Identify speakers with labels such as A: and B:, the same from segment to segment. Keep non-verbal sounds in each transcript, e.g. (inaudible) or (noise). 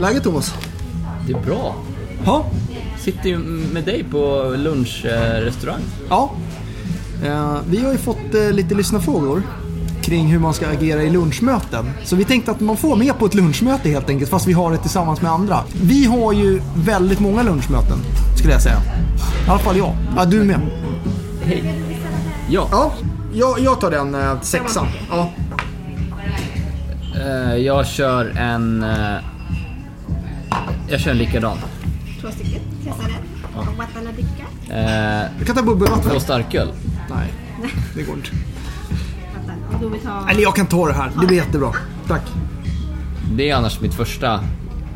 A: Läget Thomas?
B: Det är bra.
A: Ja.
B: Sitter ju med dig på lunchrestaurang.
A: ja. Eh, vi har ju fått eh, lite lyssnarfrågor kring hur man ska agera i lunchmöten. Så vi tänkte att man får med på ett lunchmöte helt enkelt, fast vi har det tillsammans med andra. Vi har ju väldigt många lunchmöten, skulle jag säga. I alla fall jag. Ja, du med.
B: Ja,
A: Ja, jag, jag tar den eh, sexan. Ja.
B: eh, jag kör en... eh, Jag kör en likadan.
C: Två stycken pressade. Och Watanabika.
B: Eh,
A: Du kan ta bubbelvatten.
B: Två starköl.
A: Nej, det går inte.
C: Watan. Då vi tar...
A: Eller jag kan ta det här. Det blir jättebra. Tack.
B: Det är annars mitt första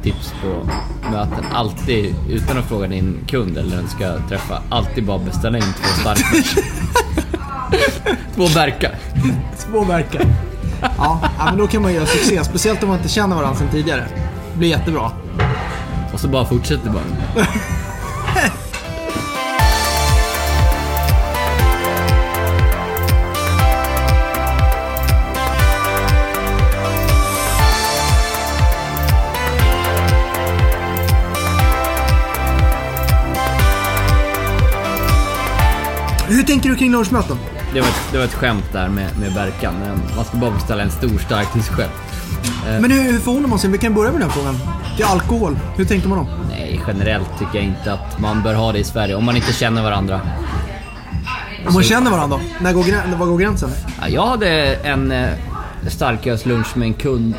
B: tips på möten. Alltid, utan att fråga din kund eller den du ska träffa, alltid bara beställa in två starköl. två verkar.
A: Påverka. Ja, ja, men då kan man göra succé. Speciellt om man inte känner varandra sedan tidigare. Det blir jättebra.
B: Och så bara fortsätter bara.
A: Hur tänker du kring lunchmöten?
B: Det var ett, det var ett skämt där med, med verkan. men Man ska bara beställa en stor stark till sig själv.
A: Men hur, hur förhåller man sig? Vi kan börja med den frågan. Till alkohol. Hur tänkte man då?
B: Nej, generellt tycker jag inte att man bör ha det i Sverige om man inte känner varandra.
A: Om man känner varandra, när går, grä- var går gränsen?
B: Ja, Jag hade en eh, starkölslunch med en kund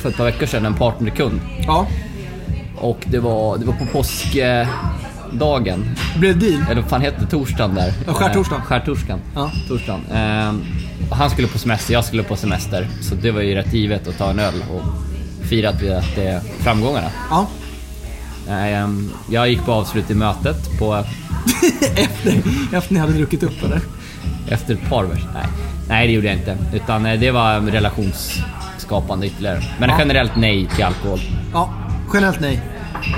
B: för ett par veckor sedan, en partnerkund.
A: Ja.
B: Och det var, det var på påskdagen,
A: Blev det deal?
B: eller vad fan heter det, torsdagen där?
A: Ja, skärtorsdagen.
B: Eh, Skärtorsdagen.
A: Ja.
B: Torsdagen. Eh, och han skulle på semester, jag skulle på semester. Så det var ju rätt givet att ta en öl och fira att vi att det är framgångarna.
A: Ja. (laughs)
B: Eh, jag gick på avslut i mötet på
A: efter, efter ni hade druckit upp eller?
B: Efter ett par vers? Nej. nej, det gjorde jag inte. Utan eh, det var relationsskapande ytterligare. Men
A: Ja.
B: generellt nej till alkohol. (laughs)
A: Ja, generellt nej.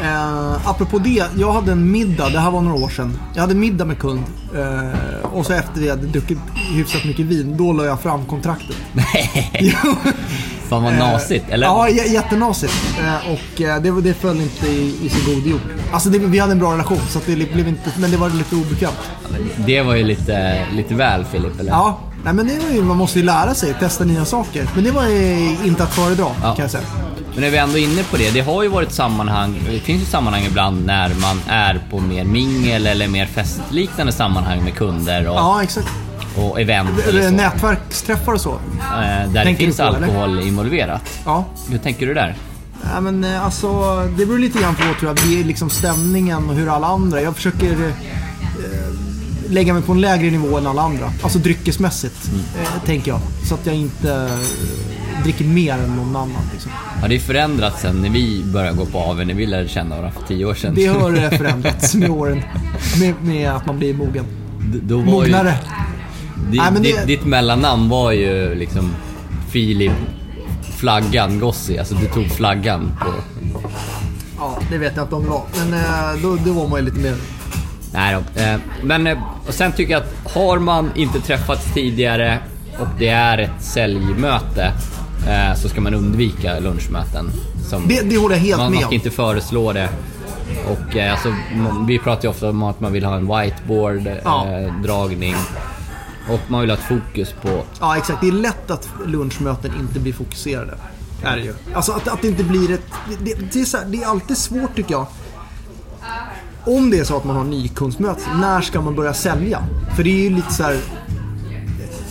A: Eh, apropå det, jag hade en middag, det här var några år sedan. Jag hade middag med kund eh, och så efter vi hade druckit hyfsat mycket vin, då la jag fram kontraktet. (laughs)
B: Nej,
A: Jo.
B: fan vad nasigt. Eller?
A: Eh, Ja, j- jättenasigt. Eh, Och eh, det, var- det föll inte i, i så god jord. Alltså det, vi hade en bra relation, så att det blev inte, men det var lite obekvämt.
B: Det var ju lite, lite väl Filip, eller?
A: Ja, nej, men det var ju, man måste ju lära sig, testa nya saker. Men det var eh, inte att föredra
B: Ja.
A: kan jag säga.
B: Men när vi ändå är inne på det, det har ju varit sammanhang, det finns ju sammanhang ibland när man är på mer mingel eller mer festliknande sammanhang med kunder och,
A: Ja, exakt.
B: och event eller
A: Eller
B: så,
A: nätverksträffar och så.
B: eh, där det
A: Tänker du
B: finns
A: på, eller?
B: alkohol involverat.
A: Ja.
B: Hur tänker du där?
A: Nej, men eh, alltså, det beror lite grann på tror jag. Det är liksom stämningen och hur alla andra. Jag försöker eh, lägga mig på en lägre nivå än alla andra. Alltså dryckesmässigt, eh, tänker jag. Så att jag inte eh, dricker mer än någon annan. Liksom.
B: Har det förändrats sen när vi började gå på AW, när vi lärde känna varandra för tio år sedan?
A: Det (laughs) har eh,
B: (laughs)
A: förändrats med åren. Med, med att man blir mogen.
B: D- Då var ju-
A: Mognare.
B: Di-
A: Nej, men
B: ditt,
A: det-
B: ditt mellannamn var ju liksom Filip Flaggan Gossi, alltså du tog flaggan på...
A: Ja, det vet jag inte om det var. Men eh, då, då var man ju lite mer...
B: Nej då. Eh, Men eh, och sen tycker jag att har man inte träffats tidigare och det är ett säljmöte eh, så ska man undvika lunchmöten. Som
A: Det, det håller jag helt
B: man, man
A: med
B: ska
A: om.
B: inte föreslå det. Och eh, alltså, man- vi pratar ju ofta om att man vill ha en
A: Ja.
B: whiteboard-dragning. och man vill ha ett fokus på
A: Ja, exakt. Det är lätt att lunchmöten inte blir fokuserade. Är det ju. Alltså att, att det inte blir ett... Det, det, det, är så här, det är alltid svårt tycker jag. Om det är så att man har nykundsmöte, när ska man börja sälja? För det är ju lite så här...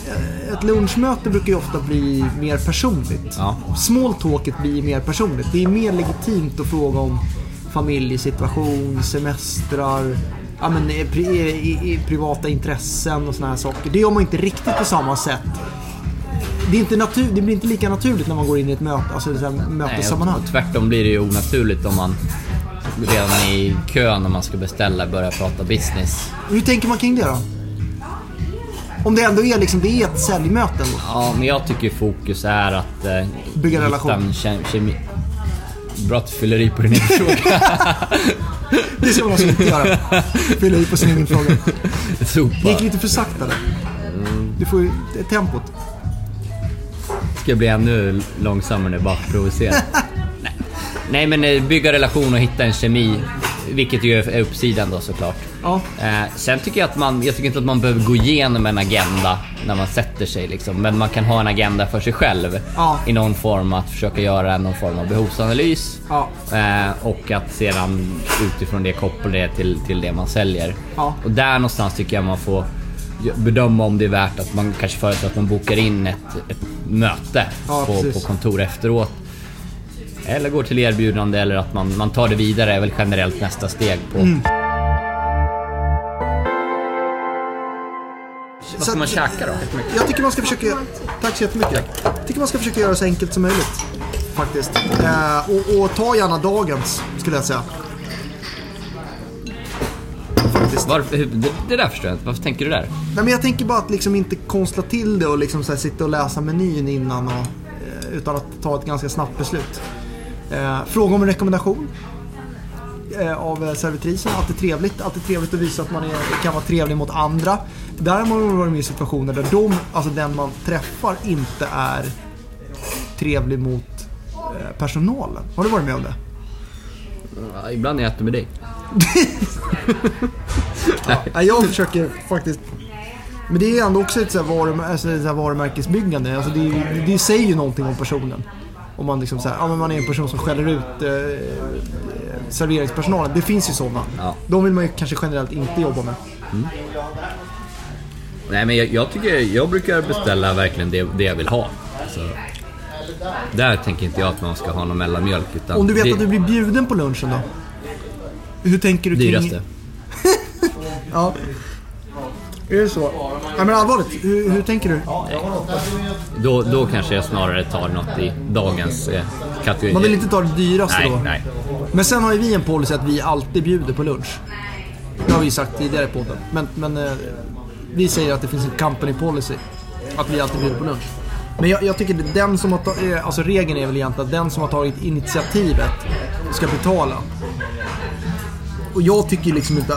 A: eh, Ett lunchmöte brukar ju ofta bli mer personligt.
B: Ja.
A: Small talket blir mer personligt. Det är mer legitimt att fråga om familjesituation, semestrar, ja, men, eh, pri, i, i, privata intressen och såna här saker. Det gör man inte riktigt på samma sätt. Det, är inte natur, det blir inte lika naturligt när man går in i ett möte, alltså så här, mötessammanhang.
B: och tvärtom blir det ju onaturligt om man redan i kön när man ska beställa börjar prata business.
A: Hur tänker man kring det då? Om det ändå är, liksom, det är ett säljmöte ändå.
B: Ja, men jag tycker fokus är att... Eh,
A: Bygga
B: hitta
A: relation.
B: en ke- kemi... Bra att du fyller i på din (laughs) egen fråga.
A: Det ska man alltså inte göra. Fylla i på sin egen fråga. Det
B: Sopa.
A: gick lite för sakta där. Du får ju det är tempot. (laughs)
B: Ska bli ännu långsammare nu, bara för att provocera. Nej. Nej men eh, bygga relation och hitta en kemi. Vilket ju är är uppsidan då såklart.
A: Ja.
B: Eh, sen tycker jag att man, jag tycker inte att man behöver gå igenom en agenda när man sätter sig liksom. Men man kan ha en agenda för sig själv.
A: Ja.
B: I någon form att försöka göra någon form av behovsanalys.
A: Ja.
B: Eh, och att sedan utifrån det koppla det till, till det man säljer.
A: Ja.
B: Och där någonstans tycker jag man får bedöma om det är värt att man kanske föreslår att man bokar in ett, ett möte
A: Ja,
B: på, på
A: precis.
B: kontor efteråt. Eller går till erbjudande eller att man, man tar det vidare är väl generellt nästa steg på
A: Mm.
B: Vad ska
A: Så
B: man
A: att-
B: käka då?
A: Jag tycker man ska försöka... Tack så jättemycket. Jag tycker man ska försöka göra det så enkelt som möjligt. Faktiskt. Eh, och, och ta gärna dagens, skulle jag säga. Faktiskt.
B: Varför, hur, det, det där förstår jag inte. Varför tänker du där?
A: Nej, men jag tänker bara att liksom inte konstla till det och liksom så här sitta och läsa menyn innan. Och, eh, utan att ta ett ganska snabbt beslut. Eh, fråga om en rekommendation. eh, av eh, servitrisen. Alltid trevligt. Alltid trevligt att visa att man är, kan vara trevlig mot andra. Där har man varit med i situationer där de, alltså den man träffar inte är trevlig mot eh, personalen. Har du varit med om det?
B: Ja, ibland är jag äter med dig.
A: Ja, jag försöker faktiskt... Men det är ändå också ett så här varum, alltså ett så här varumärkesbyggande. Alltså det, är ju- det säger ju någonting om personen. Om man liksom så här, ja, men man är en person som skäller ut eh, eh, serveringspersonalen. Det finns ju sådana.
B: Ja.
A: De vill man ju kanske generellt inte jobba med.
B: Nej men jag, jag tycker, jag brukar beställa verkligen det, det jag vill ha. Så, där tänker inte jag att man ska ha någon mellanmjölk. Utan
A: Om du vet
B: det,
A: att du blir bjuden på lunchen då? Hur tänker du kring...
B: Dyraste.
A: Ja. Är det så? Nej men allvarligt, hur, hur tänker du?
B: Då, då kanske jag snarare tar något i dagens eh, kategori.
A: Man vill inte ta det dyraste
B: Nej,
A: då?
B: nej.
A: Men sen har ju vi en policy att vi alltid bjuder på lunch. Det har vi ju sagt tidigare i podden. Men, men eh, vi säger att det finns en company policy. Att vi alltid bjuder på lunch. Men jag, jag tycker att den som har ta, eh, alltså regeln är väl egentligen att den som har tagit initiativet ska betala. Och jag tycker liksom inte,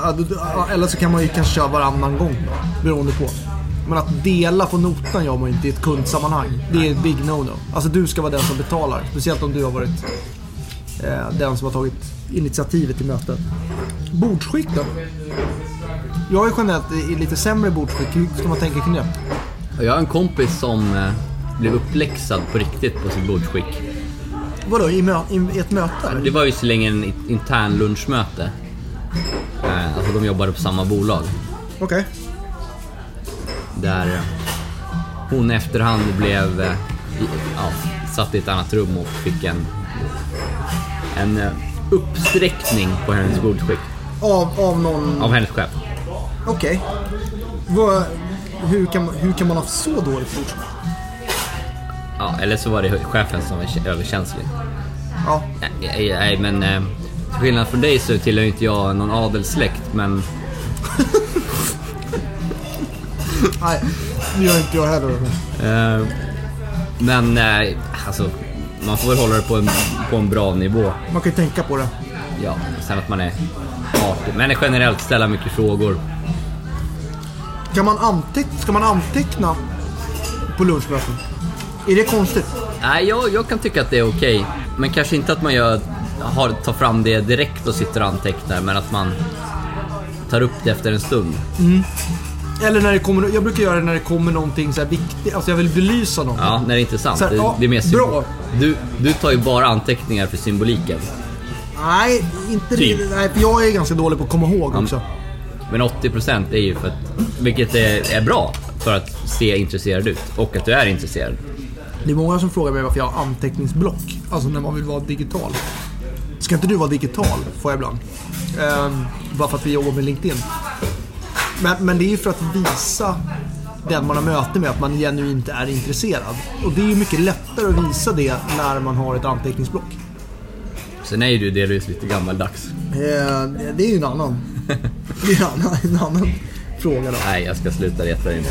A: eller så kan man ju kanske köra varannan gång då, beroende på. Men att dela på notan gör man ju inte i ett kundsammanhang. Det är ett big no-no. Alltså du ska vara den som betalar. Speciellt om du har varit eh, den som har tagit initiativet till mötet. Bordsskick då? Jag är generellt i i lite sämre bordsskick. Hur ska man tänka kring det?
B: Och Jag har en kompis som eh, blev uppläxad på riktigt på sitt bordsskick.
A: Vadå, i, mö- i, i ett möte?
B: Det var ju så länge en i- intern lunchmöte. Eh, Alltså de jobbade på samma bolag.
A: Okej.
B: Där eh, hon i efterhand blev eh, i- ja, satt i ett annat rum och fick en, en eh, uppsträckning på hennes bordsskick
A: Av, av någon...
B: av hennes chef.
A: Okej. Vad- Hur, kan, man- hur kan man ha så dåligt bordsskick?
B: Ja, eller så var det chefen som var kä- överkänslig.
A: Ja.
B: Nej, Nej, nej, men eh, till skillnad från dig så tillhör ju inte jag någon adelssläkt, men
A: Nej, det gör inte jag heller.
B: Eh, men eh, alltså, man får väl hålla det på en, på en bra nivå.
A: Man kan ju tänka på det.
B: Ja, sen att man är artig. Men generellt ställa mycket frågor.
A: Kan man anteck- ska man anteckna på lunchmöten? Är det konstigt?
B: Nej, jag, jag kan tycka att det är okej. Men kanske inte att man gör, har, tar fram det direkt och sitter och antecknar, men att man tar upp det efter en stund.
A: Eller när det kommer, jag brukar göra det när det kommer någonting så här viktigt, alltså jag vill belysa någonting.
B: Ja, när det är intressant.
A: Så här,
B: det,
A: ja,
B: det är mer symbol-
A: bra.
B: Du, du tar ju bara anteckningar för symboliken.
A: Nej, inte
B: Typ.
A: riktigt. Nej, för jag är ganska dålig på att komma ihåg också.
B: Men 80% är ju för att, vilket är, är bra för att se intresserad ut och att du är intresserad.
A: Det är många som frågar mig varför jag har anteckningsblock. Alltså när man vill vara digital. Ska inte du vara digital? Får jag ibland. Ehm, bara för att vi jobbar med LinkedIn. Men, men det är ju för att visa den man har möte med att man genuint är intresserad. Och det är ju mycket lättare att visa det när man har ett anteckningsblock.
B: Sen är ju du delvis lite gammaldags.
A: Ehm, det är ju en annan, det är en annan, en annan fråga då.
B: Nej, jag ska sluta reta dig nu.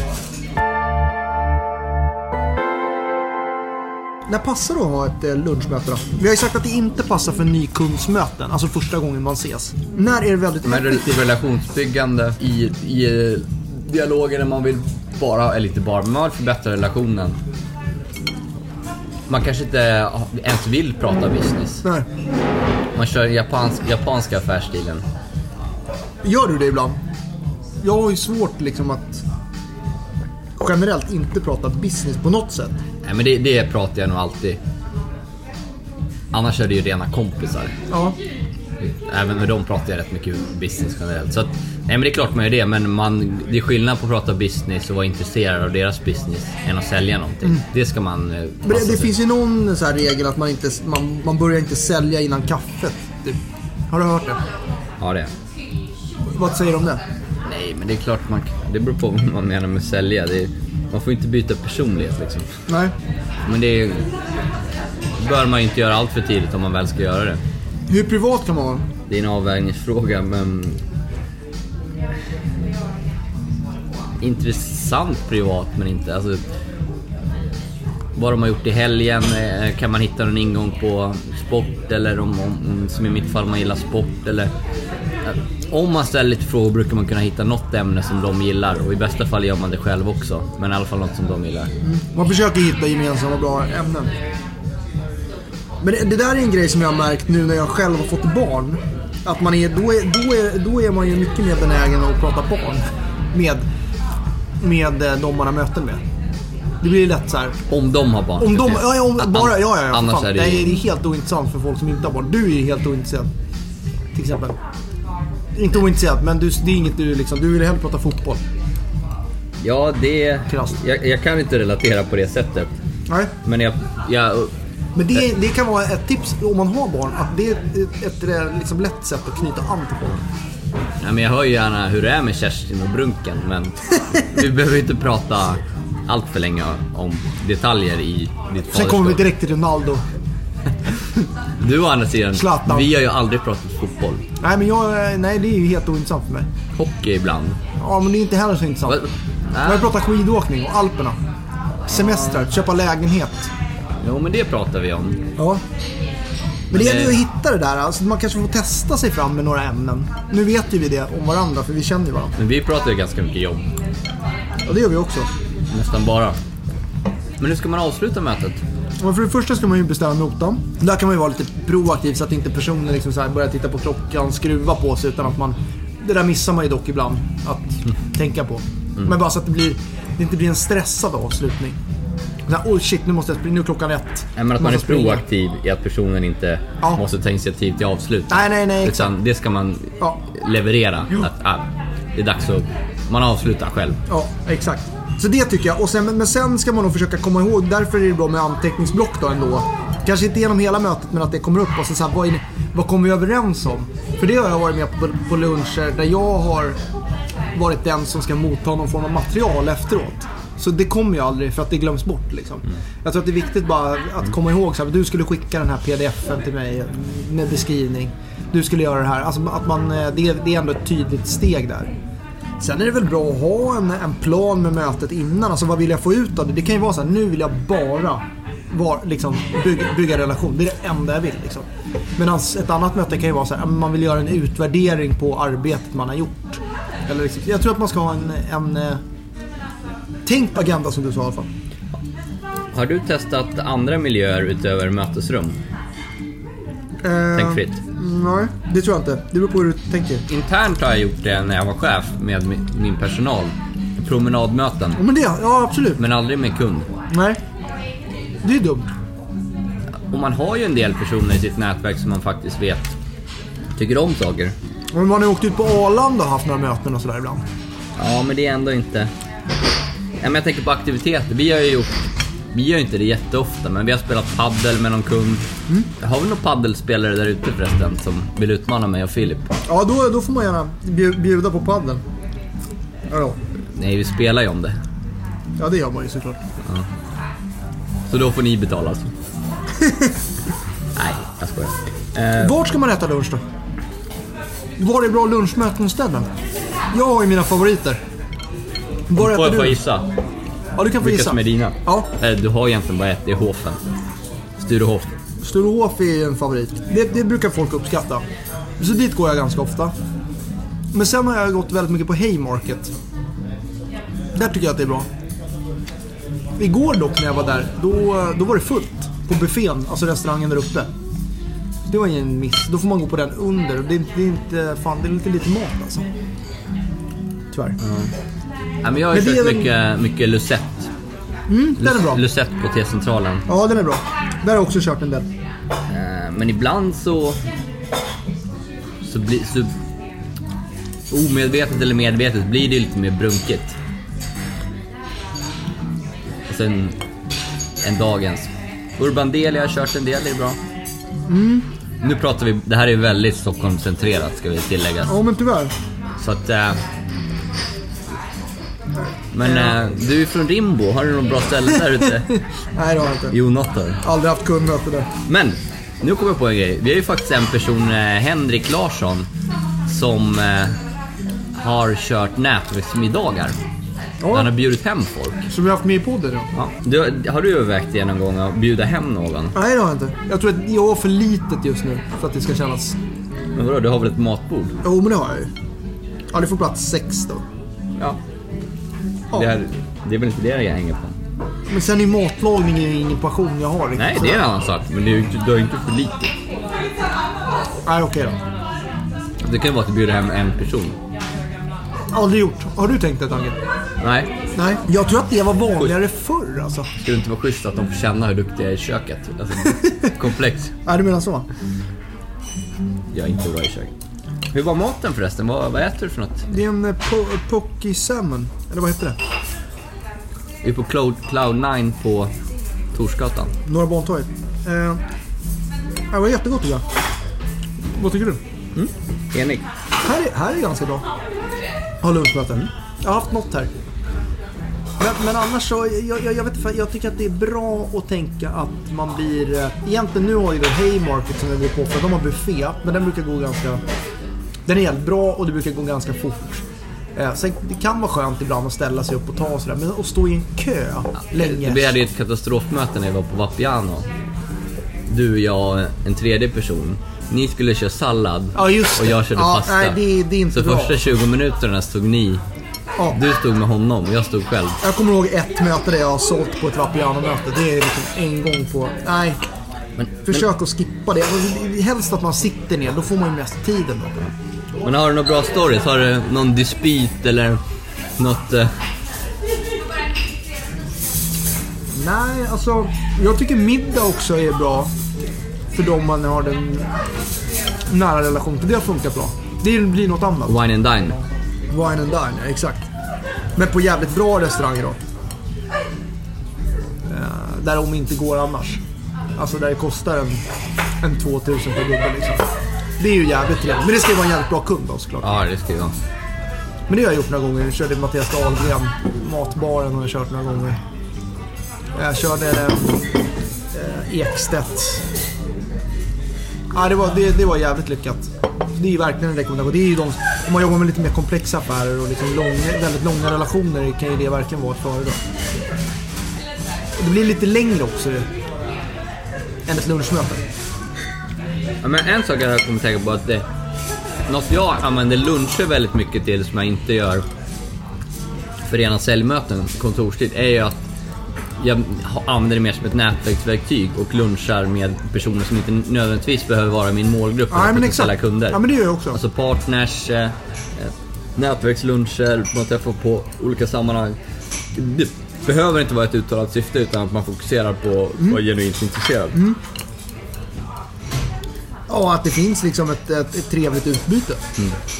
A: När passar det att ha ett eh, lunchmöte då? Vi har ju sagt att det inte passar för nykundsmöten, alltså första gången man ses. När är det väldigt
B: Men
A: effektivt?
B: rel- relationsbyggande i, i eh, dialoger där man vill bara, eller inte bara, men man vill förbättra relationen. man kanske inte ens vill prata business.
A: Nej.
B: Man kör japans, japanska affärsstilen.
A: Gör du det ibland? Jag har ju svårt liksom att generellt inte prata business på något sätt.
B: Nej, men det, det pratar jag nog alltid. Annars är det ju rena kompisar.
A: Ja.
B: Även med dem pratar jag rätt mycket business generellt. Så att, nej men det är klart man gör det, men man, det är skillnad på att prata business och vara intresserad av deras business än att sälja någonting. Det ska man eh,
A: Mm. Men
B: passa
A: det, det
B: sig.
A: finns ju någon så här regel att man, inte, man, man börjar inte sälja innan kaffet. Typ. Har du hört det?
B: Ja, det.
A: Vad säger du om det?
B: Nej, men det är klart man Det beror på vad man menar med sälja. Det är, man får inte byta personlighet liksom.
A: Nej.
B: Men det är, bör man inte göra allt för tidigt om man väl ska göra det.
A: Hur privat kan man vara?
B: Det är en avvägningsfråga, men... Intressant privat, men inte... Alltså, vad de har gjort i helgen, eh, kan man hitta någon ingång på sport eller om, om, om- som i mitt fall, man gillar sport eller... eh, Om man ställer lite frågor brukar man kunna hitta något ämne som de gillar och i bästa fall gör man det själv också. Men i alla fall något som de gillar.
A: Man försöker hitta gemensamma bra ämnen. Men det, det där är en grej som jag har märkt nu när jag själv har fått barn. Att man är, då, är, då, är, då är man ju mycket mer benägen att prata barn med, med eh, de man har möten med. Det blir ju lätt så här.
B: Om de har barn.
A: Om
B: ska
A: de,
B: sägas.
A: ja, ja, om,
B: An-
A: bara, ja, ja, ja.
B: Annars
A: fan,
B: är det
A: Nej, det är
B: ju...
A: helt ointressant för folk som inte har barn. Du är ju helt ointresserad. Till exempel. Inte ointresserad, men du, det är inget du liksom... Du vill hellre prata fotboll.
B: Ja, det...
A: Krasst.
B: Jag, jag kan inte relatera på det sättet.
A: Nej.
B: Men jag, jag,
A: Men det, det kan vara ett tips om man har barn. Att det är ett, ett eh, liksom, lätt sätt att knyta an till folk.
B: nej, men jag hör ju gärna hur det är med Kerstin och Brunken men vi behöver inte prata allt för länge om detaljer i ditt
A: Sen kommer vi
B: faderskap.
A: direkt till Ronaldo.
B: Du å andra sidan,
A: Zlatan.
B: vi har ju aldrig pratat fotboll.
A: Nej, men jag, eh, nej, det är ju helt ointressant för mig.
B: Hockey ibland.
A: Ja, men det är inte heller så intressant.
B: Va-
A: Jag vill
B: Nej.
A: prata skidåkning och Alperna. Semestrar, köpa lägenhet.
B: Jo men det pratar vi om.
A: Ja. Men det gäller ju
B: det-
A: att hitta det där. Alltså, man kanske får testa sig fram med några ämnen. Nu vet ju vi det om varandra, för vi känner ju varandra.
B: Men vi pratar ju ganska mycket jobb.
A: Och det gör vi också.
B: Nästan bara. Men hur ska man avsluta mötet?
A: Men för det första ska man ju bestämma notan. Där kan man ju vara lite proaktiv så att inte personen liksom så här börjar titta på klockan, skruva på sig. Utan att man, det där missar man ju dock ibland att tänka på.
B: Mm.
A: Men bara så att det, blir, det inte blir en stressad avslutning. Så här, oh shit, nu måste jag springa, nu är klockan ett.
B: Nej, men att man
A: Måste
B: är
A: springa."
B: proaktiv i att personen inte
A: Ja.
B: måste ta initiativ till avslut.
A: Nej, nej, nej.
B: Utan det ska man
A: Ja.
B: leverera. Att, ah, det är dags att... Man avslutar själv.
A: Ja, exakt. Så det tycker jag. Och sen, men- men sen ska man nog försöka komma ihåg, därför är det bra med anteckningsblock då ändå. Kanske inte genom hela mötet, men att det kommer upp. Och så, så här, vad, är, ni- vad kommer vi överens om? För det har jag varit med på, på luncher där jag har varit den som ska motta någon form av material efteråt. Så det kommer ju aldrig för att det glöms bort. Liksom. Jag tror att det är viktigt bara att komma ihåg så här, du skulle skicka den här pdf-en till mig med beskrivning. Du skulle göra det här. Alltså, att man, eh, det, är- det är ändå ett tydligt steg där. Sen är det väl bra att ha en, en plan med mötet innan. Alltså vad vill jag få ut av det? Det kan ju vara så här, nu vill jag bara var, liksom, bygga, bygga relation. Det är det enda jag vill. Liksom. Medan ett annat möte kan ju vara så här, man vill göra en utvärdering på arbetet man har gjort. Eller liksom, jag tror att man ska ha en, en eh, tänkt på agenda som du sa i alla fall.
B: Har du testat andra miljöer utöver mötesrum? Tänk fritt.
A: Eh, Nej, det tror jag inte. Det beror på hur du tänker.
B: Internt har jag gjort det när jag var chef med mi- min personal. Promenadmöten.
A: Ja, men det, ja absolut.
B: Men aldrig med kund.
A: Nej. Det är dumt.
B: Och man har ju en del personer i sitt nätverk som man faktiskt vet tycker om saker.
A: Men man har ju åkt ut på Arlanda och haft några möten och sådär ibland.
B: Ja, men det är ändå inte... Nej, men jag tänker på aktiviteter. Vi har ju gjort... Vi gör ju inte det jätteofta, men vi har spelat paddel med någon kund.
A: Mm.
B: Har vi någon paddelspelare där ute förresten som vill utmana mig och Filip?
A: Ja, då, då får man gärna bju- bjuda på padden. Ja, då.
B: Nej, vi spelar ju om det.
A: ja, det gör man ju såklart.
B: Så då får ni
A: (laughs)
B: betala alltså. Nej, jag skojar. Eh.
A: Vart ska man äta lunch då? Var är bra lunchmöten ställen? Jag har ju mina favoriter. Var äter
B: Får jag få
A: du?
B: gissa?
A: Ja, du kan få
B: Vilka
A: gissa.
B: som är dina?
A: Ja.
B: Eh, Du har egentligen bara ett, det är Hofen. Sturehof.
A: Sturehof är ju en favorit. Det, det brukar folk uppskatta. Så dit går jag ganska ofta. Men sen har jag gått väldigt mycket på Haymarket. Där tycker jag att det är bra. Igår dock när jag var där, då, då var det fullt. på buffén, alltså restaurangen där uppe. Det var ju en miss. Då får man gå på den under. Och Det är, det är inte, fan det är lite lite mat alltså. Tyvärr.
B: Ja, men jag har ju
A: Men det
B: kört
A: är väl-
B: mycket, mycket Lucette.
A: Mm, den är bra.
B: Lucette på T-centralen.
A: Ja, den är bra. Där har jag också kört en del.
B: Eh, Men ibland så... Så blir... Så, omedvetet eller medvetet blir det lite mer brunket. Och sen en dagens. Urban Deli har jag kört en del, det är bra. Nu pratar vi... Det här är väldigt Stockholmscentrerat ska vi tillägga.
A: Ja, men tyvärr. (laughs)
B: Så att... eh, men eh, du är ju från Rimbo, har du något bra ställe där ute?
A: Nej, det har jag inte.
B: Jo, något har du.
A: Aldrig haft kundmöte där.
B: Men, nu kommer jag på en grej. Vi har ju faktiskt en person, eh, Henrik Larsson, som eh, har kört nätverksmiddagar.
A: Ja.
B: Han har bjudit hem folk.
A: Som vi har haft med i podden då?
B: Ja. Du, har du övervägt det någon gång, att bjuda hem någon?
A: Nej, det har jag inte. Jag tror att jag är för litet just nu för att det ska kännas...
B: Men vadå, du har väl ett matbord?
A: Jo, men det har jag ju. Ja, det får plats sex då.
B: Ja.
A: Ja.
B: Det, är, det är väl inte det jag hänger på?
A: Men sen är matlagning är ju ingen passion jag har riktigt.
B: Nej, det är en annan sak. Men det är ju inte, du har ju inte för lite.
A: Nej, okej då.
B: Det kan ju vara att du bjuder hem en person.
A: Aldrig gjort. Har du tänkt den tanken?
B: Nej,
A: Nej. Jag tror att det var vanligare förr alltså.
B: skulle det inte vara schysst att de får känna hur duktig jag är i köket? (laughs) Alltså, komplex.
A: Nej, du menar så?
B: Jag är inte bra i köket. Hur var maten förresten? Vad, vad äter du för något?
A: Det är en eh, po- Pocky Salmon. Eller vad heter det?
B: Vi är på Cloud, Cloud 9 på Torsgatan.
A: Norra Bantorget. Eh, det var jättegott tycker jag. Vad tycker du?
B: Enig.
A: Här är, här är ganska bra. Har lunchmöte. Jag har haft något här. Men, men annars så, jag, jag, jag vet inte, jag tycker att det är bra att tänka att man blir... eh, Egentligen nu har ju då Haymarket som jag går på för de har buffé, men den brukar gå ganska... Den är helt bra och det brukar gå ganska fort. Eh, sen det kan vara skönt ibland att ställa sig upp och ta och sådär, men att stå i en kö länge.
B: Vi hade ju ett katastrofmöte när vi var på Vapiano. Du, jag och en tredje person. Ni skulle köra sallad
A: Ja, just
B: och
A: det.
B: jag körde
A: Ja,
B: pasta.
A: nej, det- det är inte
B: Så
A: bra.
B: första 20 minuterna stod ni.
A: Ja.
B: Du stod med honom och jag stod själv.
A: Jag kommer ihåg ett möte där jag har sålt på ett Vapiano-möte. Det är liksom en gång på... Nej. Försök att skippa det. Och Helst att man sitter ner, då får man ju mest tiden. Då.
B: Men har du några bra stories? Har du någon dispyt eller något... Eh,
A: Nej, alltså. Jag tycker middag också är bra. För de man har den nära relation till. Det har funkat bra. Det blir något annat.
B: wine and dine?
A: Wine and dine, ja, exakt. Men på jävligt bra restauranger då. Eh, Där om inte går annars. Alltså där det kostar en, en 2000 per gubbe liksom. Det är ju jävligt trevligt. Men det ska ju vara en jävligt bra kund då såklart.
B: Ja, det ska jag.
A: Men det har jag gjort några gånger. Jag körde Mattias Dahlgren, Matbaren har jag kört några gånger. Jag körde eh, Ekstedt. Ja, det, var, det, det var jävligt lyckat. Det är ju verkligen en rekommendation. Det är ju de, om man jobbar med lite mer komplexa affärer och liksom långa, väldigt långa relationer kan ju det verkligen vara ett föredra. Och Det blir lite längre också det, än ett lunchmöte.
B: Ja, men en sak jag kommer tänka på att det... Något jag använder luncher väldigt mycket till som jag inte gör för rena säljmöten, kontorstid, är ju att jag ha- använder det mer som ett nätverksverktyg och lunchar med personer som inte nödvändigtvis behöver vara min målgrupp
A: Ja, men
B: potentiella
A: exakt.
B: kunder.
A: Ja, men det gör jag också.
B: Alltså partners, eh, eh, nätverksluncher, man träffar på olika sammanhang. Det behöver inte vara ett uttalat syfte utan att man fokuserar på att
A: Mm.
B: vara genuint intresserad.
A: Ja, att det finns liksom ett, ett, ett trevligt utbyte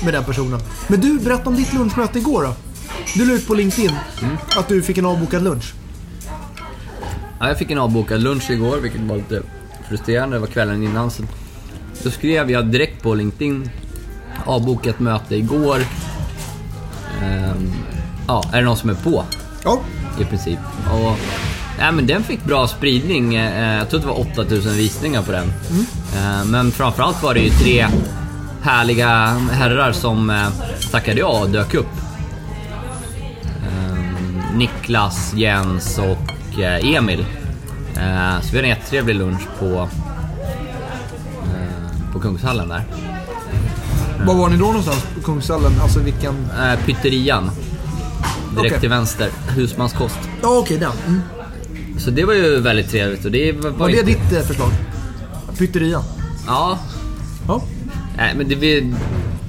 A: med den personen. Men du, berätta om ditt lunchmöte igår då. Du la ut på LinkedIn att du fick en avbokad lunch.
B: Ja, jag fick en avbokad lunch igår, vilket var lite frustrerande. Det var kvällen innan. Så då skrev jag direkt på LinkedIn, avbokat möte igår. Ehm, ja, är det någon som är på?
A: Ja.
B: I princip. Och, nej, men den fick bra spridning. Eh, jag tror det var 8000 visningar på den. Eh, men framförallt var det ju tre härliga herrar som eh, tackade ja och dök upp. Ehm, Niklas, Jens och eh, Emil. Eh, så vi hade en jättetrevlig lunch på, eh, på Kungshallen där.
A: Var var ni då någonstans? På Kungshallen? Alltså vilken...
B: Eh, pytterian. Direkt
A: Okej.
B: till vänster. Husmanskost.
A: Ja, okej den. Mm.
B: Så det var ju väldigt trevligt och det var,
A: Var
B: ju-
A: det ditt eh, förslag? Pytteria?
B: Ja.
A: Ja.
B: Nej, men det, vi,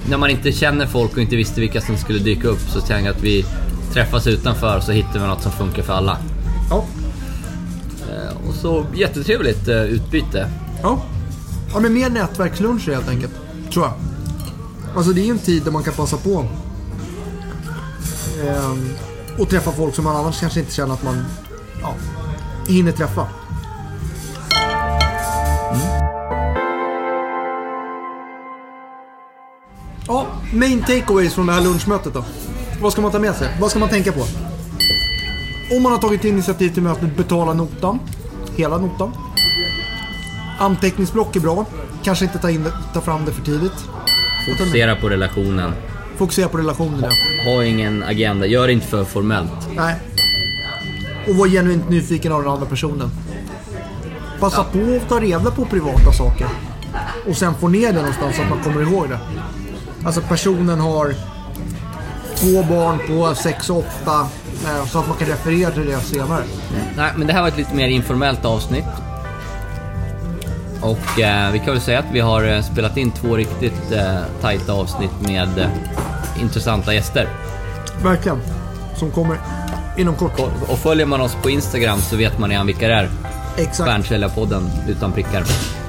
B: när man inte känner folk och inte visste vilka som skulle dyka upp så tänkte jag att vi träffas utanför så hittar vi något som funkar för alla.
A: Ja.
B: Eh, Och så jättetrevligt eh, utbyte.
A: Ja. Ja, men mer nätverksluncher helt enkelt. Tror jag. Alltså det är ju en tid där man kan passa på. Ehm, och träffa folk som man annars kanske inte känner att man ja, hinner träffa. Mm. Ja, main takeaways från det här lunchmötet då. Vad ska man ta med sig? Vad ska man tänka på? Om man har tagit initiativ till mötet, betala notan. Hela notan. Anteckningsblock är bra. Kanske inte ta, in, det- ta fram det för tidigt.
B: Fokusera på relationen.
A: Fokusera på relationerna.
B: Ha ingen agenda. Gör det inte för formellt.
A: Nej. Och var genuint nyfiken av den andra personen. Passa på att ta reda på privata saker. Och sen få ner det någonstans så att man kommer ihåg det. Alltså personen har två barn på sex och åtta. eh, Så att man kan referera till det senare.
B: Nej, men det här var ett lite mer informellt avsnitt. Och eh, vi kan väl säga att vi har eh, spelat in två riktigt eh, tajta avsnitt med eh, intressanta gäster.
A: Verkligen. Som kommer inom kort.
B: Och- Och följer man oss på Instagram så vet man redan vilka det är.
A: Exakt.
B: Stjärnsäljarpodden utan prickar.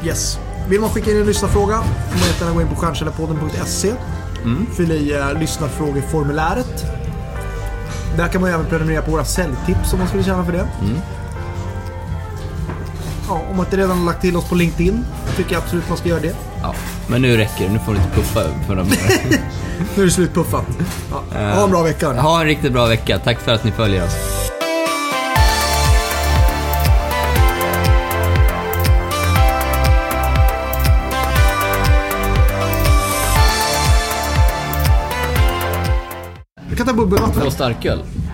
A: Yes. Vill man skicka in en lyssnarfråga får man jättegärna gå in på stjärnsäljarpodden.se. Fyll i eh, lyssnarfrågeformuläret. Där kan man ju även prenumerera på våra säljtips om man skulle känna för det. Ja, om man inte redan har lagt till oss på LinkedIn tycker jag absolut man ska göra det.
B: Ja, men nu räcker det. Nu får du inte puffa för dem.
A: Nu är det slutpuffat. Ja. Ha en bra vecka. hörni.
B: (laughs) Ha en riktigt bra vecka. Tack för att ni följer oss.
A: Jag kan ta bubbelvatten.
B: Och starköl.